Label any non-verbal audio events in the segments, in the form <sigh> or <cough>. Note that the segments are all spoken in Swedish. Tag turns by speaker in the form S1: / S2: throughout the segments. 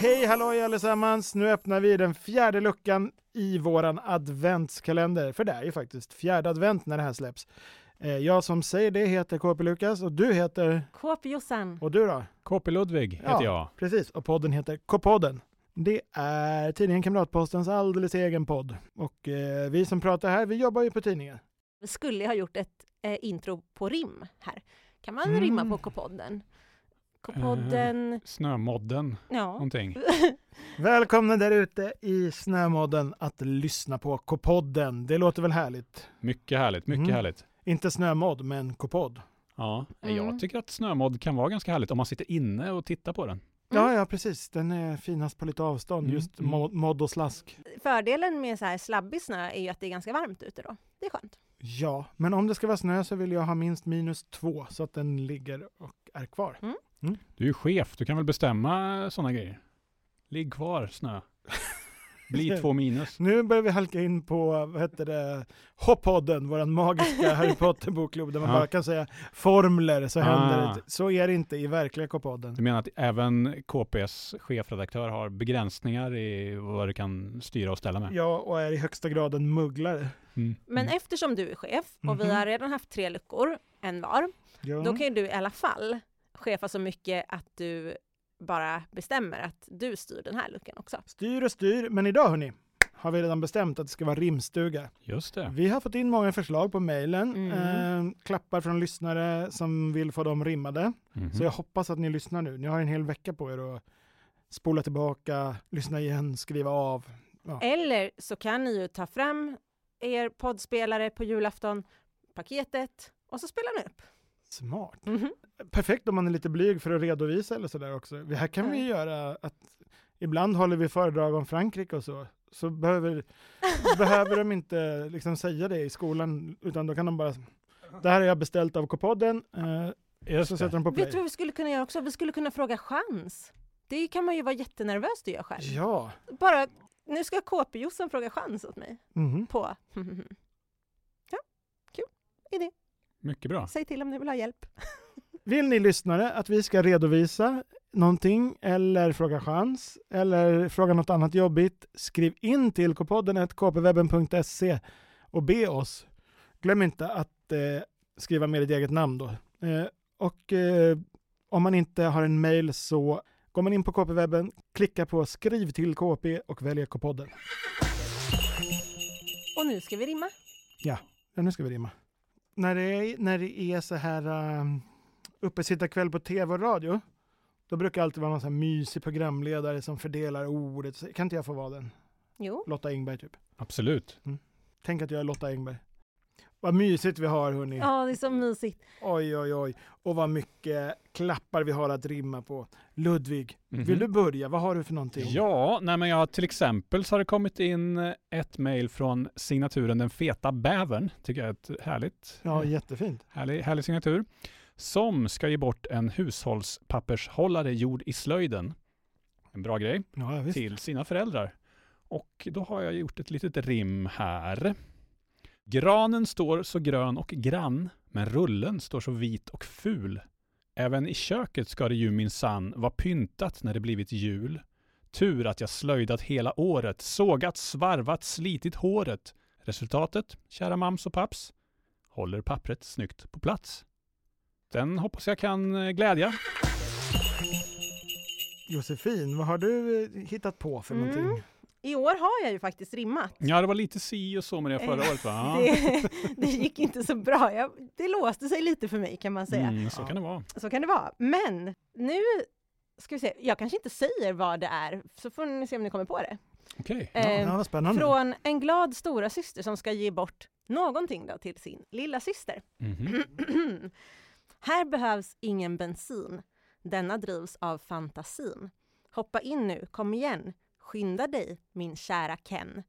S1: Hej halloj allesammans! Nu öppnar vi den fjärde luckan i våran adventskalender. För det är ju faktiskt fjärde advent när det här släpps. Eh, Jag som säger det heter KP Lukas och du heter...
S2: Kåpjossan.
S1: Och du då?
S3: KP Ludvig heter
S1: Ja.
S3: jag.
S1: Precis, och podden heter K-podden. Det är tidningen Kamratpostens alldeles egen podd. Och eh, vi som pratar här, vi jobbar ju på tidningen.
S2: Vi skulle ha gjort ett eh, intro på rim här. Kan man
S1: Mm. Eh.
S2: rimma på K-podden? K-podden,
S3: Snömodden,
S2: ja.
S3: någonting.
S1: Välkomna där ute i snömodden att lyssna på K-podden. Det låter väl härligt?
S3: Mycket härligt, mycket
S1: Mm.
S3: härligt.
S1: Inte snömodd, men K-podd.
S3: Ja,
S2: Mm.
S3: jag tycker att snömodd kan vara ganska härligt om man sitter inne och tittar på den.
S1: Ja, ja, precis. Den är finast på lite avstånd,
S3: Mm,
S1: just
S3: mm.
S1: mo- modd och slask.
S2: Fördelen med så här slabbig snö är ju att det är ganska varmt ute då. Det är skönt.
S1: Ja, men om det ska vara snö så vill jag ha minst minus två så att den ligger och är kvar.
S3: Du är ju chef, du kan väl bestämma sådana grejer? Ligg kvar
S1: <laughs>
S3: snö. Bli två minus.
S1: Nu börjar vi halka in på, vad heter det, Hoppodden,
S2: <laughs>
S1: vår magiska Harry Potter bokklubb där man
S3: Ja.
S1: bara kan säga formler så
S3: Ah.
S1: händer det. Så är det inte i verkliga K-podden.
S3: Du menar att även KPs chefredaktör har begränsningar i vad du kan styra och ställa med?
S1: Jag och är i högsta grad en mugglare.
S3: Mm.
S2: Men
S3: Mm.
S2: eftersom du är chef och vi
S1: Mhm. Mm.
S2: har redan haft tre luckor, en var,
S1: Ja.
S2: då kan ju du i alla fall chefa så mycket att du bara bestämmer att du styr den här luckan också.
S1: Styr och styr, men idag hörni har vi redan bestämt att det ska vara rimstuga.
S3: Just det.
S1: Vi har fått in många förslag på mejlen,
S2: Mm.
S1: eh, klappar från lyssnare som vill få dem rimmade.
S3: Mhm.
S1: Så jag hoppas att ni lyssnar nu. Ni har en hel vecka på er att spola tillbaka, lyssna igen, skriva av.
S2: Eller så kan ni ju ta fram er poddspelare på julafton, paketet, och så spelar ni upp.
S1: Smart.
S2: Mhm. <laughs>
S1: Perfekt om man är lite blyg för att redovisa eller sådär också. Det här kan vi
S2: Mm.
S1: göra att ibland håller vi föredrag om Frankrike och så. Så behöver, behöver de inte liksom säga det i skolan, utan då kan de bara, det här har jag beställt av K-podden, eh,
S3: Just
S1: så
S3: det.
S1: sätter de på
S2: Vet du vad
S1: play.
S2: vi skulle kunna göra också? Vi skulle kunna fråga chans. Det kan man ju vara jättenervös att göra själv.
S1: Ja.
S2: Bara, nu ska kp fråga chans åt mig
S1: Mhm.
S2: på... <laughs> Ja, kul idé.
S3: Mycket bra.
S2: Säg till om ni vill ha hjälp.
S1: Vill ni lyssnare att vi ska redovisa någonting eller fråga chans eller fråga något annat jobbigt, skriv in till kpodden kpwebben.se och be oss. Glöm inte att eh, skriva med ditt eget namn då. Eh, och eh, om man inte har en mail så går man in på kpwebben, klickar på skriv till kp och väljer kpodden.
S2: Och nu ska vi rimma.
S1: Ja, nu ska vi rimma. När det är, när det är så här um, uppesittarkväll på tv och radio, då brukar det alltid vara någon så här mysig programledare som fördelar ordet. Så, kan inte jag få vara den?
S2: Jo,
S1: Lotta Engberg typ.
S3: Absolut.
S1: Tänk att jag är Lotta Engberg. Vad mysigt vi har hörni.
S2: ja det är så mysigt.
S1: Oj, oj, oj. Och vad mycket klappar vi har att rimma på. Ludvig,
S3: Mhm.
S1: vill du börja? Vad har du för någonting?
S3: Ja, nej men jag, till exempel så har det kommit in eh, ett mejl från signaturen Den feta bävern. Tycker jag är ett härligt,
S1: Ja, jättefint.
S3: härlig, härlig signatur. Som ska ge bort en hushållspappershållare gjord i slöjden. En bra grej.
S1: Ja, ja, visst.
S3: Till sina föräldrar. Och då har jag gjort ett litet rim här. Granen står så grön och grann, men rullen står så vit och ful. Även i köket ska det ju minsann vara pyntat när det blivit jul. Tur att jag slöjdat hela året, sågat, svarvat, slitit håret. Resultatet, kära mams och paps, håller pappret snyggt på plats. Den hoppas jag kan eh, glädja.
S1: Josefin, vad har du eh, hittat på för
S2: Mm.
S1: någonting?
S2: I år har jag ju faktiskt rimmat.
S3: Ja, det var lite si och så med det förra året va? Ja.
S2: Eh, Det, <laughs> det gick inte så bra. Jag, det låste sig lite för mig kan man säga.
S3: Mm, så
S1: Ja.
S3: kan det vara.
S2: Så kan det vara. Men nu ska vi se. Jag kanske inte säger vad det är, så får ni se om ni kommer på det.
S3: Okej.
S2: Eh,
S1: Ja, vad spännande.
S2: Från en glad stora syster som ska ge bort någonting då till sin lilla syster. <clears throat>
S3: Mhm.
S2: Här behövs ingen bensin. Denna drivs av fantasin. Hoppa in nu, kom igen. Skynda dig, min kära Ken.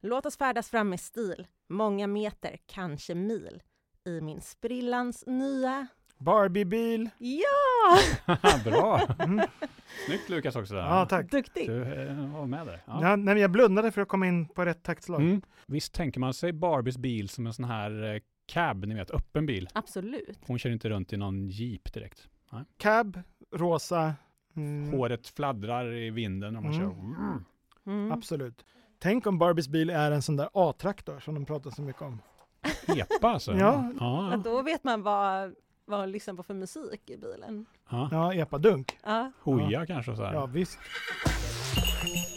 S2: Låt oss färdas fram med stil, många meter, kanske mil. I min sprillans nya...
S1: Barbiebil.
S2: Ja!
S1: <laughs>
S3: Bra!
S1: Mm.
S3: Snyggt Lukas också. Där.
S1: Ja, tack.
S2: Duktig!
S3: Du eh, var med där. Ja.
S1: Ja, nej, men jag blundade för att komma in på rätt taktslag.
S3: Mm. Visst tänker man sig Barbies bil som en sån här eh, cab, ni vet, öppen bil.
S2: Absolut.
S3: Hon kör inte runt i någon jeep direkt.
S1: Cab, rosa, Mm,
S3: Håret fladdrar i vinden när man
S1: Mm.
S3: kör. Mm.
S2: Mm.
S1: Absolut. Tänk om Barbies bil är en sån där A-traktor som de pratar så mycket om.
S3: Epa alltså.
S1: Ja.
S2: Ja,
S3: ja.
S2: då vet man vad, vad hon lyssnar på för musik i bilen.
S3: ja.
S1: Ja, epadunk.
S2: Ja.
S3: Hoja kanske och så här.
S1: Ja, visst.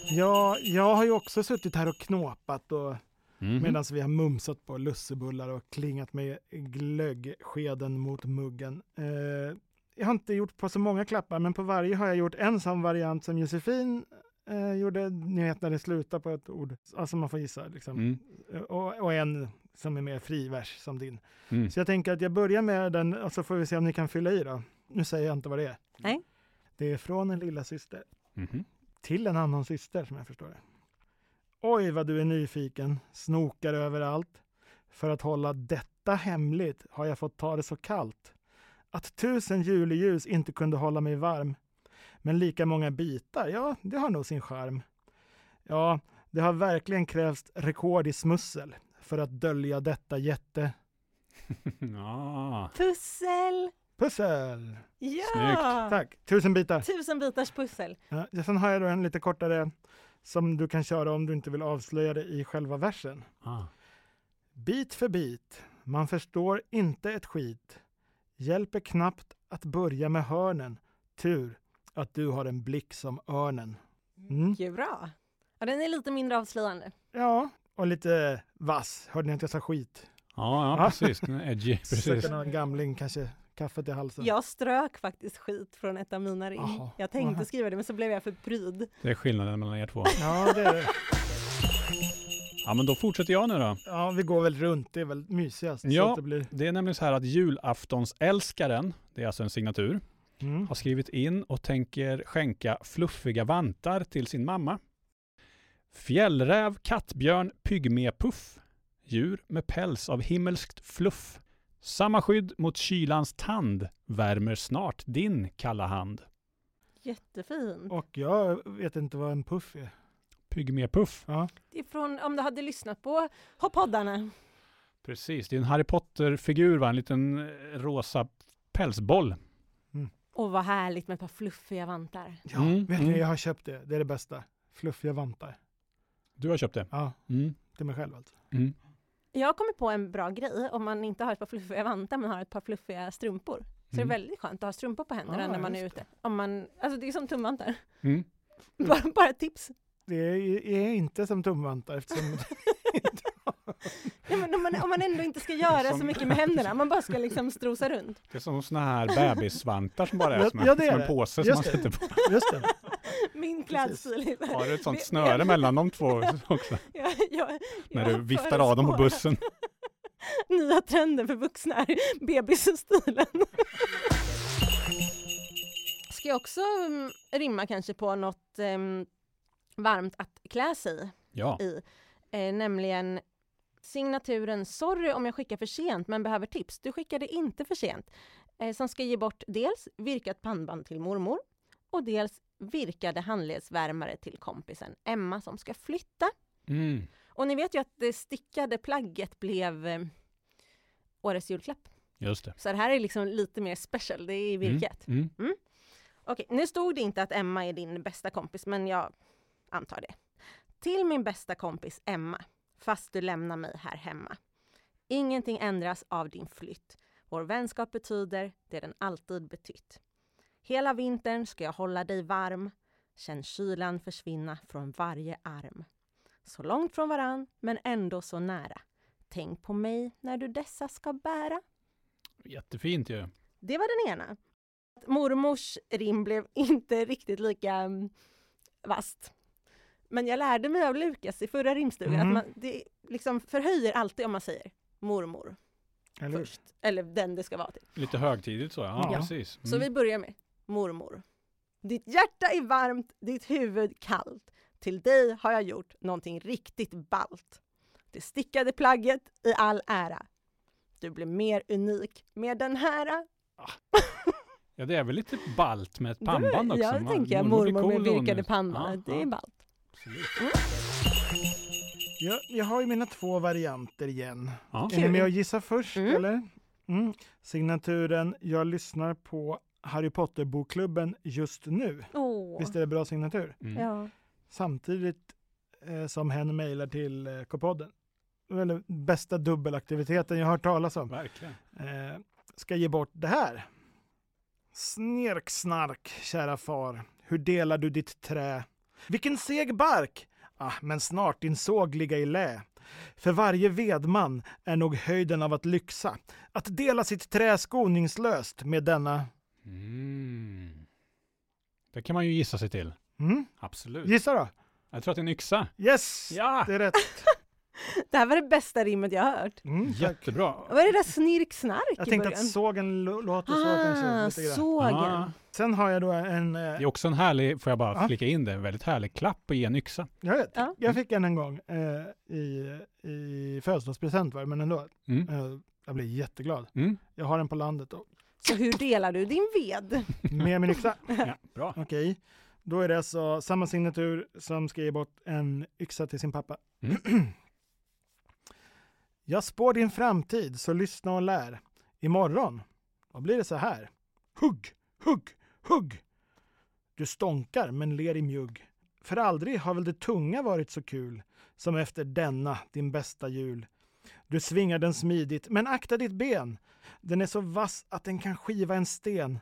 S1: Ja, jag har ju också suttit här och knåpat och
S3: Mhm.
S1: medan vi har mumsat på lussebullar och klingat med glöggskeden mot muggen. Eh, jag har inte gjort på så många klappar, men på varje har jag gjort en sån variant som Josefin eh, gjorde, ni vet när det slutar på ett ord, alltså man får gissa liksom.
S3: Mm.
S1: Eh, Och, och en som är mer frivers som din.
S3: Mm.
S1: Så jag tänker att jag börjar med den, och så får vi se om ni kan fylla i då. Nu säger jag inte vad det är.
S2: Nej.
S1: Det är från en lilla syster
S3: Mhm.
S1: till en annan syster som jag förstår det. Oj vad du är nyfiken, snokar överallt. För att hålla detta hemligt har jag fått ta det så kallt. Att tusen juleljus inte kunde hålla mig varm. Men lika många bitar, ja, det har nog sin charm. Ja, det har verkligen krävts rekord i smussel för att dölja detta jätte...
S3: <laughs> ja. ah.
S2: Pussel!
S1: Pussel!
S2: Ja!
S3: Snyggt.
S1: Tack, tusen bitar.
S2: Tusen bitars pussel.
S1: Ja, ja, sen har jag då en lite kortare som du kan köra om du inte vill avslöja det i själva versen.
S3: Ah.
S1: Bit för bit, man förstår inte ett skit. Hjälper knappt att börja med hörnen. Tur att du har en blick som örnen. Mm.
S2: Mycket bra. Ja, den är lite mindre avslöjande.
S1: Ja, och lite vass. Hörde ni att jag sa skit?
S3: Ja, ja,
S1: Ah.
S3: precis. Den är edgy. Precis.
S1: Sätter någon gamling kanske kaffet i halsen.
S2: Jag strök faktiskt skit från ett av mina rim.
S1: Jaha.
S2: Jag tänkte
S1: Nähä.
S2: skriva det, men så blev jag för pryd.
S3: Det är skillnaden mellan er två.
S1: Ja, det är det.
S3: Ja, men då fortsätter jag nu då.
S1: ja, vi går väl runt. Det är väl mysigast. Så
S3: Ja.
S1: att det blir...
S3: Det är nämligen så här att julaftonsälskaren, det är alltså en signatur,
S1: mm.
S3: har skrivit in och tänker skänka fluffiga vantar till sin mamma. Fjällräv, kattbjörn, pygmépuff. Djur med päls av himmelskt fluff. Samma skydd mot kylans tand värmer snart din kalla hand.
S2: Jättefint.
S1: Och jag vet inte vad en puff är.
S3: Pygmépuff.
S1: Ja.
S2: Det är från, om du hade lyssnat på Hoppoddarna.
S3: Precis, det är en Harry Potter-figur, va? en liten eh, rosa pälsboll.
S2: Och vad härligt med ett par fluffiga vantar.
S1: Ja,
S3: Mm,
S1: vet
S3: mm.
S1: ni, jag har köpt det. Det är det bästa. Fluffiga vantar.
S3: Du har köpt det?
S1: Ja,
S3: Mm.
S1: till mig själv alltså.
S3: Mm.
S2: Jag har kommit på en bra grej om man inte har ett par fluffiga vantar men har ett par fluffiga strumpor. Så
S3: Mm.
S2: det är väldigt skönt att ha strumpor på händerna
S1: Ah,
S2: när man är
S1: just
S2: ute. Om man, alltså det är som tumvantar.
S3: Mm.
S2: <laughs> Bara, bara ett tips.
S1: Det är, är inte som tumvantar eftersom <laughs>
S2: Nej, men om, man, om man ändå inte
S3: <laughs>
S2: ska göra
S3: Som-
S2: så mycket med händerna, man bara ska liksom strosa runt.
S3: Det är som såna här bebissvantar som bara är
S1: Ja,
S3: som en,
S1: ja, det är
S3: som
S1: det.
S3: en påse som
S1: Just
S3: man
S1: det.
S3: sätter på.
S1: Just det.
S2: <laughs> Min klädstil är så här.
S3: Har du ett sånt
S2: Det-
S3: snöre mellan de två också?
S2: <laughs> jag, jag,
S3: När
S2: jag
S3: du viftar av dem på
S2: förespår
S3: bussen.
S2: <laughs> Nya trenden för vuxna är <laughs> bebisstilen. Ska jag också mm, rimma kanske på något em, varmt att klä sig i?
S3: Ja.
S2: eh, nämligen signaturen “Sorry om jag skickar för sent men behöver tips, du skickade inte för sent” eh, som ska ge bort dels virkat pannband till mormor och dels virkade handledsvärmare till kompisen Emma som ska flytta.
S3: Mm.
S2: Och ni vet ju att det stickade plagget blev eh, årets julklapp.
S3: Just det.
S2: Så det här är liksom lite mer special, det är
S3: Mm.
S2: virket.
S3: Mm.
S2: Okej, nu stod det inte att Emma är din bästa kompis, men jag antar det. Till min bästa kompis Emma, fast du lämnar mig här hemma. Ingenting ändras av din flytt. Vår vänskap betyder det den alltid betytt. Hela vintern ska jag hålla dig varm. Känn kylan försvinna från varje arm. Så långt från varann, men ändå så nära. Tänk på mig när du dessa ska bära.
S3: Jättefint ju.
S2: Det var den ena. Att Mormors rim blev <laughs> inte riktigt lika mm, vasst. Men jag lärde mig av Lukas i förra rimstugan
S1: Mhm.
S2: att man det liksom förhöjer alltid om man säger mormor
S1: Eller hur?
S2: först. Eller den det ska vara till.
S3: Lite högtidligt så. Ja,
S1: Ja.
S3: precis. Mm.
S2: Så vi börjar med mormor. Ditt hjärta är varmt, ditt huvud kallt. Till dig har jag gjort någonting riktigt ballt. Det stickade plagget i all ära. Du blir mer unik med den här
S1: Ah.
S2: <laughs>
S3: Ja, det är väl lite balt med ett pannband också.
S2: Jag
S3: Man-
S2: tänker jag,
S3: blir
S2: mormor med
S3: cool och hon-
S2: virkade pannband.
S3: Ja,
S2: det är
S3: ja,
S2: ballt.
S3: absolut.
S1: Jag, jag har ju mina två varianter igen.
S3: Ja.
S1: Är ni
S2: Kul.
S1: med och gissa först
S2: Mm.
S1: eller? Mm. Signaturen Jag lyssnar på Harry Potter-bokklubben just nu.
S2: Åh,
S1: Visst är det bra signatur?
S3: Mm.
S2: ja.
S1: Samtidigt eh, som hen mejlar till eh, K-podden. Det är väl den bästa dubbelaktiviteten jag har hört talas om.
S3: Verkligen.
S1: eh, ska ge bort det här. Snirksnark, kära far. Hur delar du ditt trä? Vilken seg bark! Ah, men snart din såg ligga i lä. För varje vedman är nog höjden av att lyxa. Att dela sitt trä skoningslöst med denna...
S3: Mm. Det kan man ju gissa sig till.
S1: Mm?
S3: Absolut.
S1: Gissa då!
S3: Jag tror att det är en yxa.
S1: Yes!
S3: Ja,
S1: Det är rätt.
S2: Det här var det bästa rimmet jag har hört.
S1: Mm, tack.
S3: jättebra.
S2: Vad är det där snirksnark
S1: Jag
S2: i
S1: tänkte
S2: början?
S1: att sågen lo- låter så
S2: ah,
S1: kanske. Lite grann.
S2: sågen.
S3: Ah.
S1: Sen har jag då en... Eh,
S3: Det är också en härlig, får jag bara
S1: Ja.
S3: flika in det, en väldigt härlig klapp och ge en yxa.
S1: Jag vet.
S2: Ja.
S1: Jag fick en en gång eh, i, i födelsedagspresent, var det, men ändå.
S3: Mm.
S1: Eh, jag blev jätteglad.
S3: Mm.
S1: Jag har den på landet och
S2: Så hur delar du din ved?
S1: med min yxa.
S3: Ja, bra.
S1: Okej, då är det alltså samma signatur som ska ge bort en yxa till sin pappa. jag spår din framtid, så lyssna och lär. Imorgon, vad blir det så här? Hugg, hugg, hugg! Du stånkar, men ler i mjugg. För aldrig har väl det tunga varit så kul som efter denna, din bästa jul. Du svingar den smidigt, men akta ditt ben. Den är så vass att den kan skiva en sten.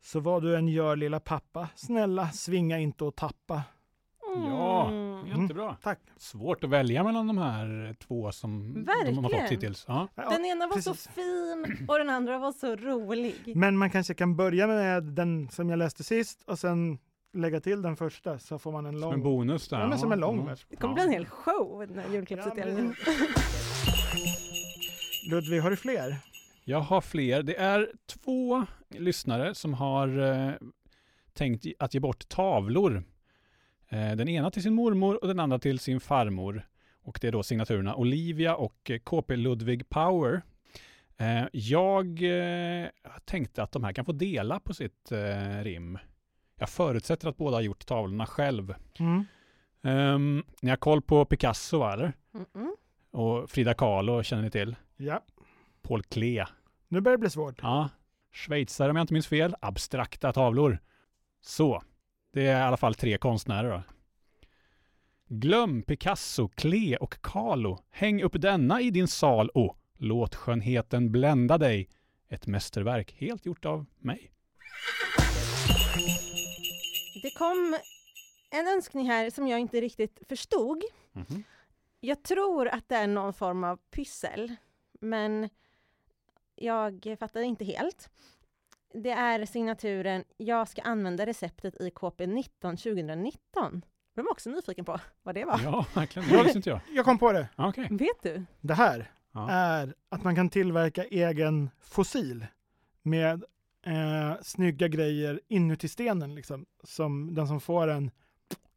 S1: Så vad du än gör lilla pappa, snälla svinga inte och tappa.
S3: Ja,
S2: Mm.
S3: jättebra.
S1: Tack.
S3: Svårt att välja mellan de här två som de har
S2: Verkligen.
S3: fått hittills. Ja.
S1: Ja,
S2: Den ena var så
S1: precis.
S2: fin och den andra var så rolig.
S1: Men man kanske kan börja med den som jag läste sist och sen lägga till den första så får man en
S3: Som
S1: lång.
S3: en bonus där.
S1: Ja, men som en lång
S3: Mm.
S1: vers.
S2: Det kommer bli en hel show den här julklappsutdelningen.
S1: Ludvig, har du fler?
S3: Jag har fler. Det är två lyssnare som har eh, tänkt i- att ge bort tavlor. Eh, den ena till sin mormor och den andra till sin farmor. Och det är då signaturerna Olivia och eh, KP Ludvig Power. Eh, jag eh, tänkte att de här kan få dela på sitt eh, rim. Jag förutsätter att båda har gjort tavlorna själv.
S1: Mm.
S3: Ehm, ni har koll på Picasso, va, eller?
S2: Mm-mm.
S3: Och Frida Kahlo känner ni till.
S1: Ja,
S3: Paul Klee.
S1: nu börjar det bli svårt.
S3: Ja, schweizare om jag inte minns fel. Abstrakta tavlor. Så, det är i alla fall tre konstnärer då. Glöm Picasso, Klee och Kahlo. Häng upp denna i din sal och låt skönheten blända dig. Ett mästerverk helt gjort av mig.
S2: Det kom en önskning här som jag inte riktigt förstod.
S3: Mhm.
S2: Jag tror att det är någon form av pyssel, men jag fattar inte helt. Det är signaturen Jag ska använda receptet i KP19 2019. Jag var också nyfiken på vad det var.
S3: Ja, verkligen. Det visste inte jag.
S1: Jag kom på det.
S3: Ja, Okej.
S2: Vet du?
S1: Det här
S3: Ja.
S1: är att man kan tillverka egen fossil med eh, snygga grejer inuti stenen, liksom, som den som får den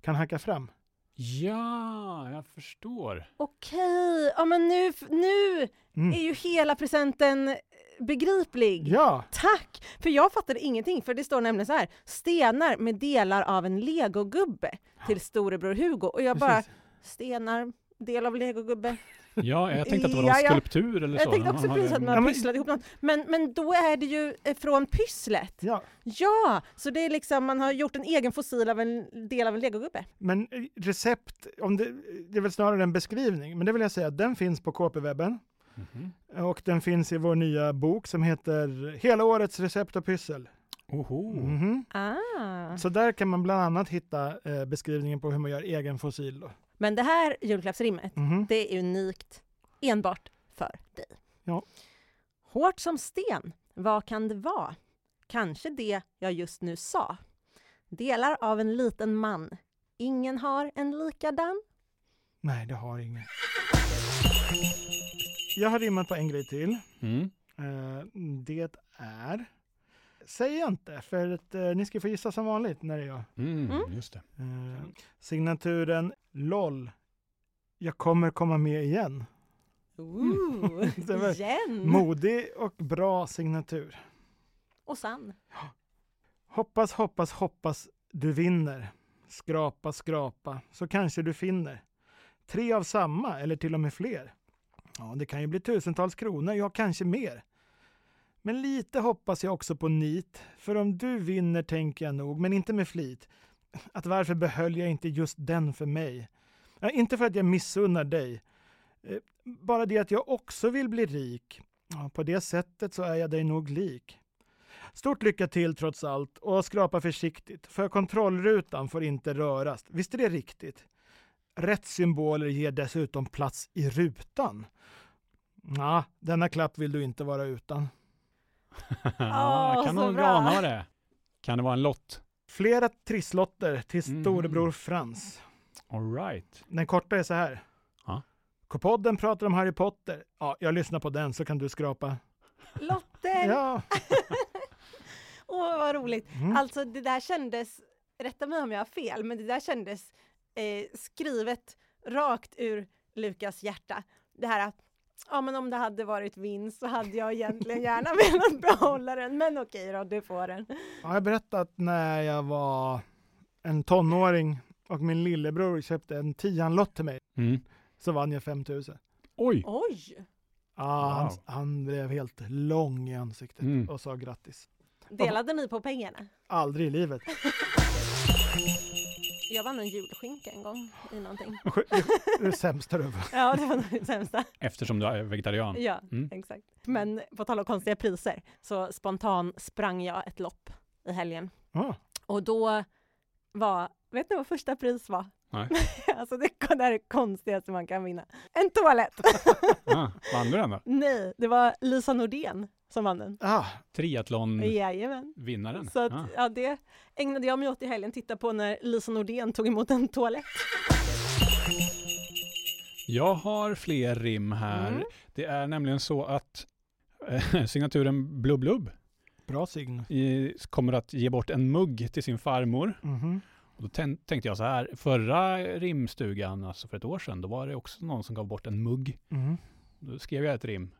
S1: kan hacka fram.
S3: Ja, jag förstår.
S2: Okej, ja, men nu, nu
S1: Mm.
S2: är ju hela presenten eh, begriplig.
S1: Ja,
S2: Tack! För jag fattade ingenting, för det står nämligen så här, stenar med delar av en legogubbe till storebror Hugo. Och jag bara,
S1: precis.
S2: stenar, del av legogubbe.
S3: Ja, jag tänkte att det var någon
S2: Ja, ja.
S3: skulptur eller så.
S2: Jag tänkte också
S3: Ja,
S2: precis
S3: det-
S2: att
S1: Ja,
S2: man
S1: men-
S2: pysslat ihop något. Men, men då är det ju eh, från pysslet.
S1: Ja,
S2: Ja, så det är liksom, man har gjort en egen fossil av en del av en legogubbe.
S1: men eh, recept, om det, det är väl snarare en beskrivning, men det vill jag säga, den finns på KP-webben
S3: Mhm.
S1: och den finns i vår nya bok som heter Hela årets recept och pyssel.
S3: Oho.
S1: Mhm.
S2: Ah.
S1: Så där kan man bland annat hitta eh, beskrivningen på hur man gör egen fossil. Då.
S2: Men det här julklappsrimmet,
S1: Mhm.
S2: Det är unikt enbart för dig.
S1: Ja.
S2: Hårt som sten, vad kan det vara? Kanske det jag just nu sa. Delar av en liten man. Ingen har en likadan.
S1: Nej, det har ingen. Jag har rimmat på en grej till.
S3: Mm.
S1: Eh, det är... Säger jag inte, för att, eh, ni ska få gissa som vanligt när det är jag.
S3: Mm.
S2: Mm.
S3: Just det.
S1: Eh, signaturen LOL. Jag kommer komma med igen.
S2: Ooh,
S1: <laughs> Det var-
S2: igen!
S1: Modig och bra signatur.
S2: Och sann.
S1: Hoppas, hoppas, hoppas du vinner. Skrapa, skrapa, så kanske du finner. Tre av samma, eller till och med fler. Ja, det kan ju bli tusentals kronor, ja kanske mer. Men lite hoppas jag också på nit, för om du vinner tänker jag nog, men inte med flit, att varför behöll jag inte just den för mig? Ja, inte för att jag missunnar dig, Eh, bara det att jag också vill bli rik. Ja, på det sättet så är jag dig nog lik. Stort lycka till trots allt och skrapa försiktigt, för kontrollrutan får inte röras. Visst är det riktigt? Rätt symboler ger dessutom plats i rutan. Nja, denna klapp vill du inte vara utan.
S2: Åh,
S3: kan
S2: så
S3: någon
S2: bra.
S3: ana det? Kan det vara en lott?
S1: Flera trisslotter till
S3: Mhm.
S1: storebror Frans.
S3: All right.
S1: Den korta är så här.
S3: Ja.
S1: K-podden pratar om Harry Potter. Ja, jag lyssnar på den så kan du skrapa.
S2: Lotter!
S1: Ja.
S2: Åh, vad roligt.
S1: Mm.
S2: Alltså det där kändes, rätta mig om jag har fel, men det där kändes eh, skrivet rakt ur Lukas hjärta. Det här att, ja men om det hade varit vinst så hade jag egentligen <laughs> gärna velat behålla den, men okej då, du får den.
S1: Ja, jag berättade att när jag var en tonåring och min lillebror köpte en tianlott till mig
S3: Mm.
S1: så vann jag 5000.
S3: Oj!
S2: Oj!
S1: Ah, han,
S3: Wow.
S1: han blev helt lång i ansiktet
S3: Mm.
S1: och sa grattis.
S2: Delade ni på pengarna?
S1: Aldrig i
S3: <laughs>
S1: livet.
S2: Jag vann en julskinka en gång i någonting.
S1: Det är det sämsta du har vunnit.
S2: Ja, det var nog det sämsta.
S3: Eftersom du är vegetarian.
S2: Ja,
S3: Mm.
S2: exakt. Men på tal om konstiga priser, så spontan sprang jag ett lopp i helgen.
S1: Ah,
S2: Och då var, vet ni vad första pris var?
S3: Nej.
S2: <laughs> alltså det, det här är det konstigaste man kan vinna. En toalett! <laughs>
S3: Ah, vann du den då?
S2: Nej, det var Lisa Nordén som vann den.
S1: ah,
S3: Triathlonvinnaren.
S2: Jajamän. Så att,
S3: Ah.
S2: ja, det ägnade jag mig åt i helgen, titta på när Lisa Nordén tog emot en toalett.
S3: Jag har fler rim här.
S2: Mm.
S3: Det är nämligen så att eh, signaturen Blubb Blubb
S1: bra sign.
S3: eh, kommer att ge bort en mugg till sin farmor.
S1: Mhm.
S3: Och då tän- tänkte jag så här, förra rimstugan, alltså för ett år sedan, då var det också någon som gav bort en mugg.
S1: Mhm.
S3: Då skrev jag ett rim.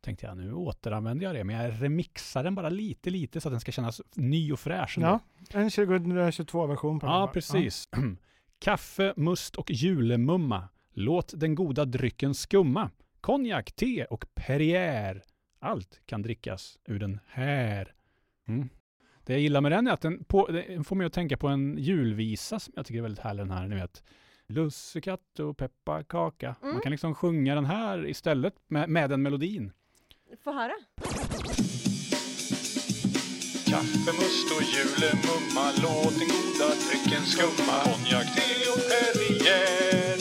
S3: Tänkte jag, nu återanvänder jag det, men jag remixar den bara lite, lite så att den ska kännas ny och fräsch. ändå.
S1: Ja, en 2022-version på den
S3: ja
S1: bara.
S3: precis. <clears throat> Kaffe, must och julemumma. Låt den goda drycken skumma. Konjak, te och perrier. Allt kan drickas ur den här. Mm. Det jag gillar med den är att den, på, den får mig att tänka på en julvisa som jag tycker är väldigt härlig den här, ni vet. Lussekatt och pepparkaka. Man
S2: Mm.
S3: kan liksom sjunga den här istället med, med den melodin.
S2: Få höra.
S4: Kaffe, must och julemumma Låt den goda drycken skumma Konjak, te och perrier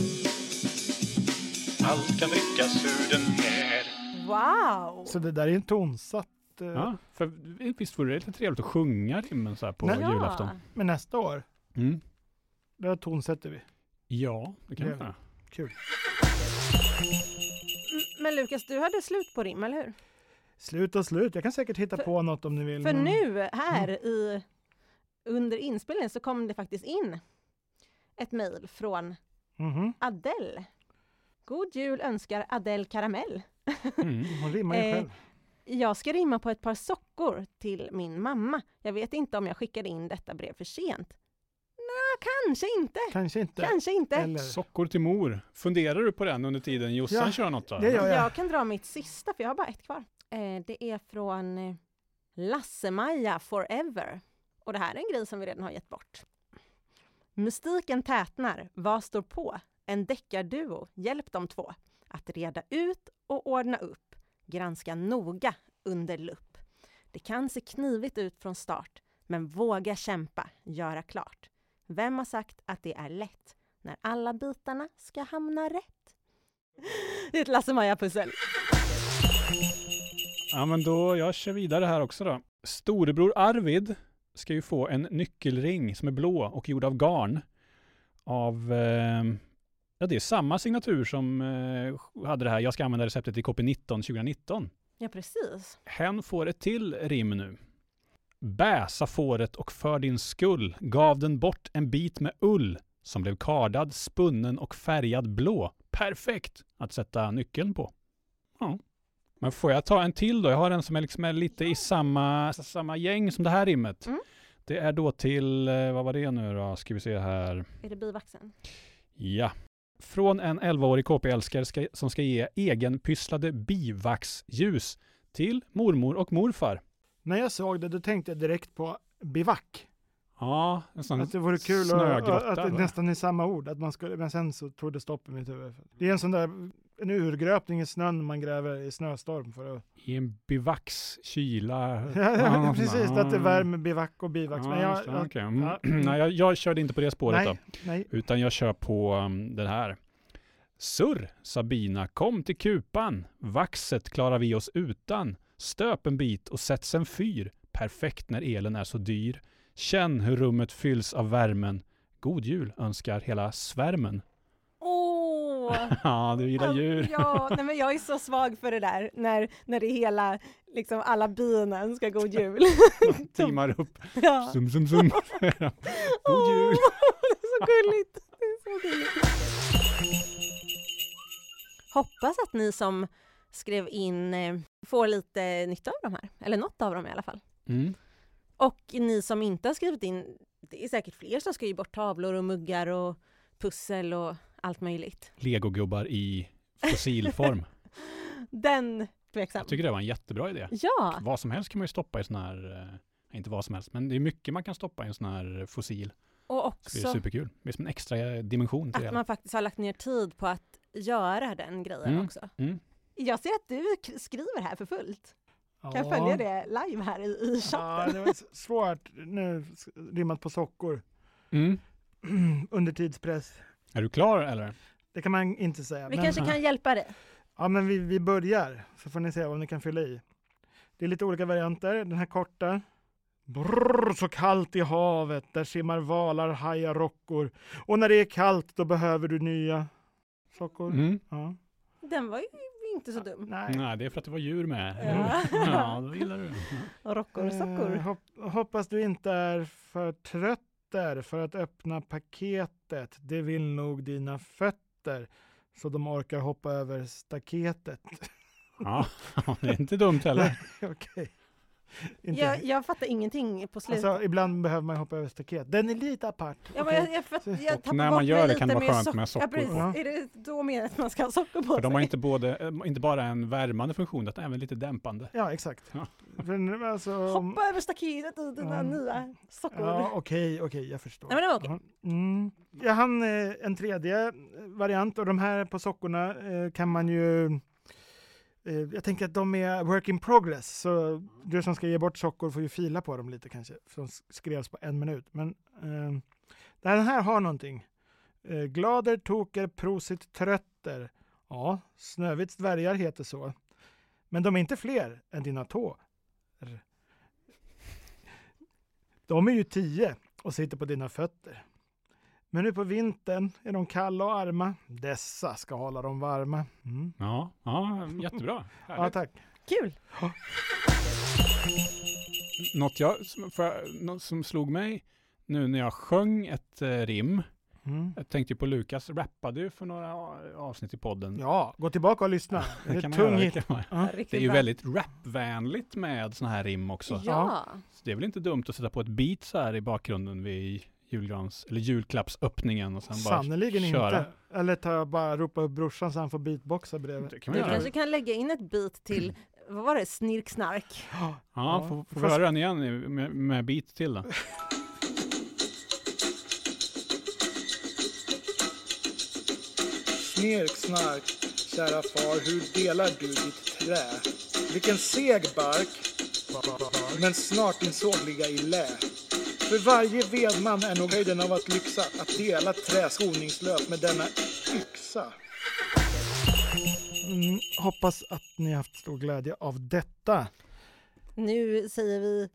S4: Allt kan drickas ur den här
S2: Wow!
S1: Så det där är en tonsatt. eh,
S3: Ja, för visst vore det lite trevligt att sjunga rimmen så här på
S1: Nej.
S3: julafton?
S1: Men nästa år,
S3: Mm.
S1: där tonsätter vi.
S3: Ja, det kan
S1: Det-
S3: man göra.
S1: Kul.
S2: M- Men Lukas, du hade slut på rim, eller hur?
S1: Slut och slut, jag kan säkert hitta
S2: För-
S1: på något om ni vill.
S2: För
S3: Mm.
S1: men-
S2: nu här i, under inspelningen så kom det faktiskt in ett mejl från
S1: Mhm.
S2: Adele. God jul önskar Adele Karamell.
S3: Mm.
S1: Hon rimmar ju
S2: Eh,
S1: själv.
S2: Jag ska rimma på ett par sockor till min mamma. Jag vet inte om jag skickade in detta brev för sent. Nå, kanske inte.
S1: Kanske inte.
S2: Kanske inte.
S1: Eller?
S3: Sockor till mor. Funderar du på den under tiden Jossan
S1: Ja,
S3: kör något då?
S1: det gör jag.
S2: Jag kan dra mitt sista, för jag har bara ett kvar. Eh, det är från eh, Lasse-Maja Forever. Och det här är en grej som vi redan har gett bort. Mystiken tätnar, vad står på? En deckarduo, hjälp de två. Att reda ut och ordna upp. Granska noga under lupp. Det kan se knivigt ut från start, men våga kämpa, göra klart. Vem har sagt att det är lätt när alla bitarna ska hamna rätt? Det är ett Lasse-Maja-pussel.
S3: Ja, men då jag kör vidare här också då. Storebror Arvid ska ju få en nyckelring som är blå och gjord av garn. Av, eh, ja det är samma signatur som eh, hade det här, jag ska använda receptet i KP19 2019.
S2: Ja, precis.
S3: Hen får ett till rim nu. Bäsa fåret och för din skull gav den bort en bit med ull som blev kardad, spunnen och färgad blå. Perfekt att sätta nyckeln på. Ja. Men får jag ta en till då? Jag har en som är liksom är lite i samma, samma gäng som det här rimmet.
S2: Mm.
S3: Det är då till, eh, vad var det nu då? Ska vi se här.
S2: Är det bivaxen?
S3: Ja. Från en 11-årig KP-älskare ska, som ska ge egenpysslade bivaxljus till mormor och morfar.
S1: När jag såg det, då tänkte jag direkt på bivack.
S3: Ja, alltså- en sån
S1: Att det vore kul att,
S3: snögrotta.
S1: att det
S3: va?
S1: nästan är samma ord, att man skulle, men sen så tog det stopp i mitt huvud. Det är en sån där en urgröpning i snön man gräver i snöstorm för att...
S3: I en <laughs> bivaxkyla.
S1: <laughs> Ja,
S3: något sånt
S1: precis,
S3: där.
S1: att det värmer bivack och bivax.
S3: Ja,
S1: men jag,
S3: just det,
S1: jag,
S3: okej. Mm. <clears throat>
S1: ja.
S3: Nej, jag, jag körde inte på det spåret då.
S1: nej, nej.
S3: Utan jag kör på um, den här. Surr, Sabina, kom till kupan. Vaxet klarar vi oss utan. Stöp en bit och sätt sen fyr. Perfekt när elen är så dyr. Känn hur rummet fylls av värmen. God jul önskar hela svärmen.
S2: Åh!
S3: <laughs> Ja, du gillar djur.
S2: Ja, nej men jag är så svag för det där, när, när det är hela, liksom alla bina önskar god <laughs> jul.
S3: Timmar upp.
S2: Ja.
S3: Zum, zum, <laughs> zum. God
S2: Åh,
S3: jul.
S2: <laughs> det är så gulligt. Det är så gulligt. Hoppas att ni som skrev in eh, får lite nytta av de här, eller något av dem i alla fall.
S3: Mm.
S2: Och ni som inte har skrivit in, det är säkert fler som ska ge bort tavlor och muggar och pussel och allt möjligt.
S3: Legogubbar i fossilform.
S2: Den tveksam.
S3: Jag tycker det var en jättebra idé.
S2: Ja,
S3: Vad som helst kan man ju stoppa i sån här, eh, inte vad som helst, men det är mycket man kan stoppa i en sån här fossil.
S2: och
S3: Så det är
S2: också
S3: superkul. Det är som en extra eh, dimension till det
S2: att
S3: hela.
S2: man faktiskt har lagt ner tid på att göra den grejen
S3: Mm,
S2: också.
S3: mm.
S2: Jag ser att du k- skriver här för fullt.
S1: Ja.
S2: Kan jag följa det live här i, i
S1: Ja,
S2: chatten?
S1: det var s- svårt. Nu s- rimmat på sockor. <clears throat>
S3: Mm.
S1: Under tidspress.
S3: Är du klar eller?
S1: Det kan man inte säga.
S2: Vi
S1: men-
S2: kanske kan hjälpa dig.
S1: Ja, men vi, vi börjar, så får ni se vad ni kan fylla i. Det är lite olika varianter. Den här korta. Brrr, så kallt i havet, där simmar valar, hajar, rockor. Och när det är kallt, då behöver du nya sockor.
S3: Mm.
S1: Ja.
S2: Den var ju inte så dum.
S1: Nej.
S3: Nej, det är för att det var djur med. Mm.
S2: Ja.
S3: ja då gillar du.
S2: Och rockor och sockor.
S1: Eh, hop- hoppas du inte är för trött där för att öppna paketet. Det vill nog dina fötter, så de orkar hoppa över staketet. <laughs>
S3: Ja, <laughs> det är inte dumt
S2: <laughs>
S3: heller.
S1: Okej. Inte-
S2: Jag, jag fattar ingenting på slutet.
S1: Alltså, ibland behöver man hoppa över staket. Den är lite apart.
S2: Ja, men
S1: Okej.
S2: jag, jag, fatt- jag
S3: Och
S2: tappar
S3: när
S2: bort
S3: man gör
S2: mig
S3: det
S2: lite
S3: kan det vara skönt
S2: sock-
S3: med sockor
S2: ja, precis.
S1: på.
S2: Är det då meningen att man ska ha sockor på
S3: För de har
S2: sig?
S3: inte, både, eh, inte bara en värmande funktion, utan även lite dämpande.
S1: Ja, exakt.
S3: Ja.
S1: För nu, alltså, om-
S2: Hoppa över staketet i dina
S1: Mm.
S2: nya sockor.
S1: Ja, okej, okej, jag förstår.
S2: Nej, men det var okej.
S1: Ja. Mm. Jag hann eh, en tredje eh, variant och de här på sockorna eh, kan man ju eh, jag tänker att de är work in progress, så du som ska ge bort sockor får ju fila på dem lite kanske, för de s- skrevs på en minut. Men eh, den här har någonting. Eh, glader, toker, prosit, trötter. Ja, Snövits dvärgar heter så. Men de är inte fler än dina tår. De är ju tio och sitter på dina fötter. Men nu på vintern är de kalla och arma. Dessa ska hålla dem varma. Mm.
S3: Ja, ja jättebra.
S1: Ja,
S3: Härligt.
S1: tack.
S2: Kul!
S3: Något, jag, som, får jag, något som slog mig nu när jag sjöng ett eh, rim,
S1: Mm.
S3: jag tänkte ju på Lukas, rappade ju för några a- avsnitt i podden.
S1: Ja, gå tillbaka och lyssna. Det är
S3: kan
S1: ett
S3: man göra,
S1: tung
S3: det
S1: hit.
S3: kan man göra.
S1: Ja.
S2: Riktigt
S3: Det är ju
S2: bra.
S3: väldigt rapvänligt med såna här rim också.
S2: Ja.
S3: Så det är väl inte dumt att sätta på ett beat så här i bakgrunden vid julgrans, eller julklappsöppningen och sen bara
S1: Sannerligen
S3: köra.
S1: inte. Eller ta jag bara ropa upp brorsan så han får beatboxa bredvid.
S3: Det kan man
S2: Du
S3: göra.
S2: kanske kan lägga in ett bit till, vad var det, snirksnark?
S3: Ja,
S1: Ja,
S3: får får vi
S1: fast-
S3: höra den igen i- med, med beat
S1: <laughs>
S3: till då?
S1: Snirk, snark, kära far, hur delar du ditt trä? Vilken seg bark, men snart din såg ligga i lä. För varje vedman är nog höjden av att lyxa, att dela trä skoningslöst med denna yxa. Mm, hoppas att ni haft stor glädje av detta.
S2: Nu säger vi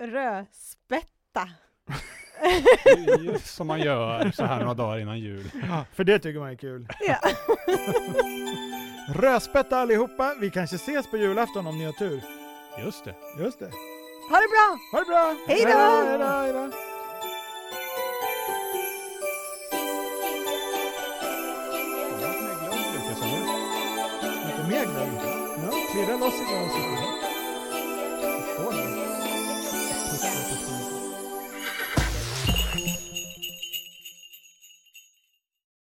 S2: rödspätta.
S3: Det är ju Som man gör så här några dagar innan jul.
S1: För det tycker man är kul. <laughs>
S2: Ja.
S1: Rödspätta allihopa, vi kanske ses på julafton om ni har tur.
S3: Just det.
S1: Just det.
S2: Ha det bra!
S1: Ha det bra!
S2: Hej då!
S1: Hej då, hej då!
S3: Lukas, eller?
S1: Lite mer glögg. Ja, klirra loss i glaset.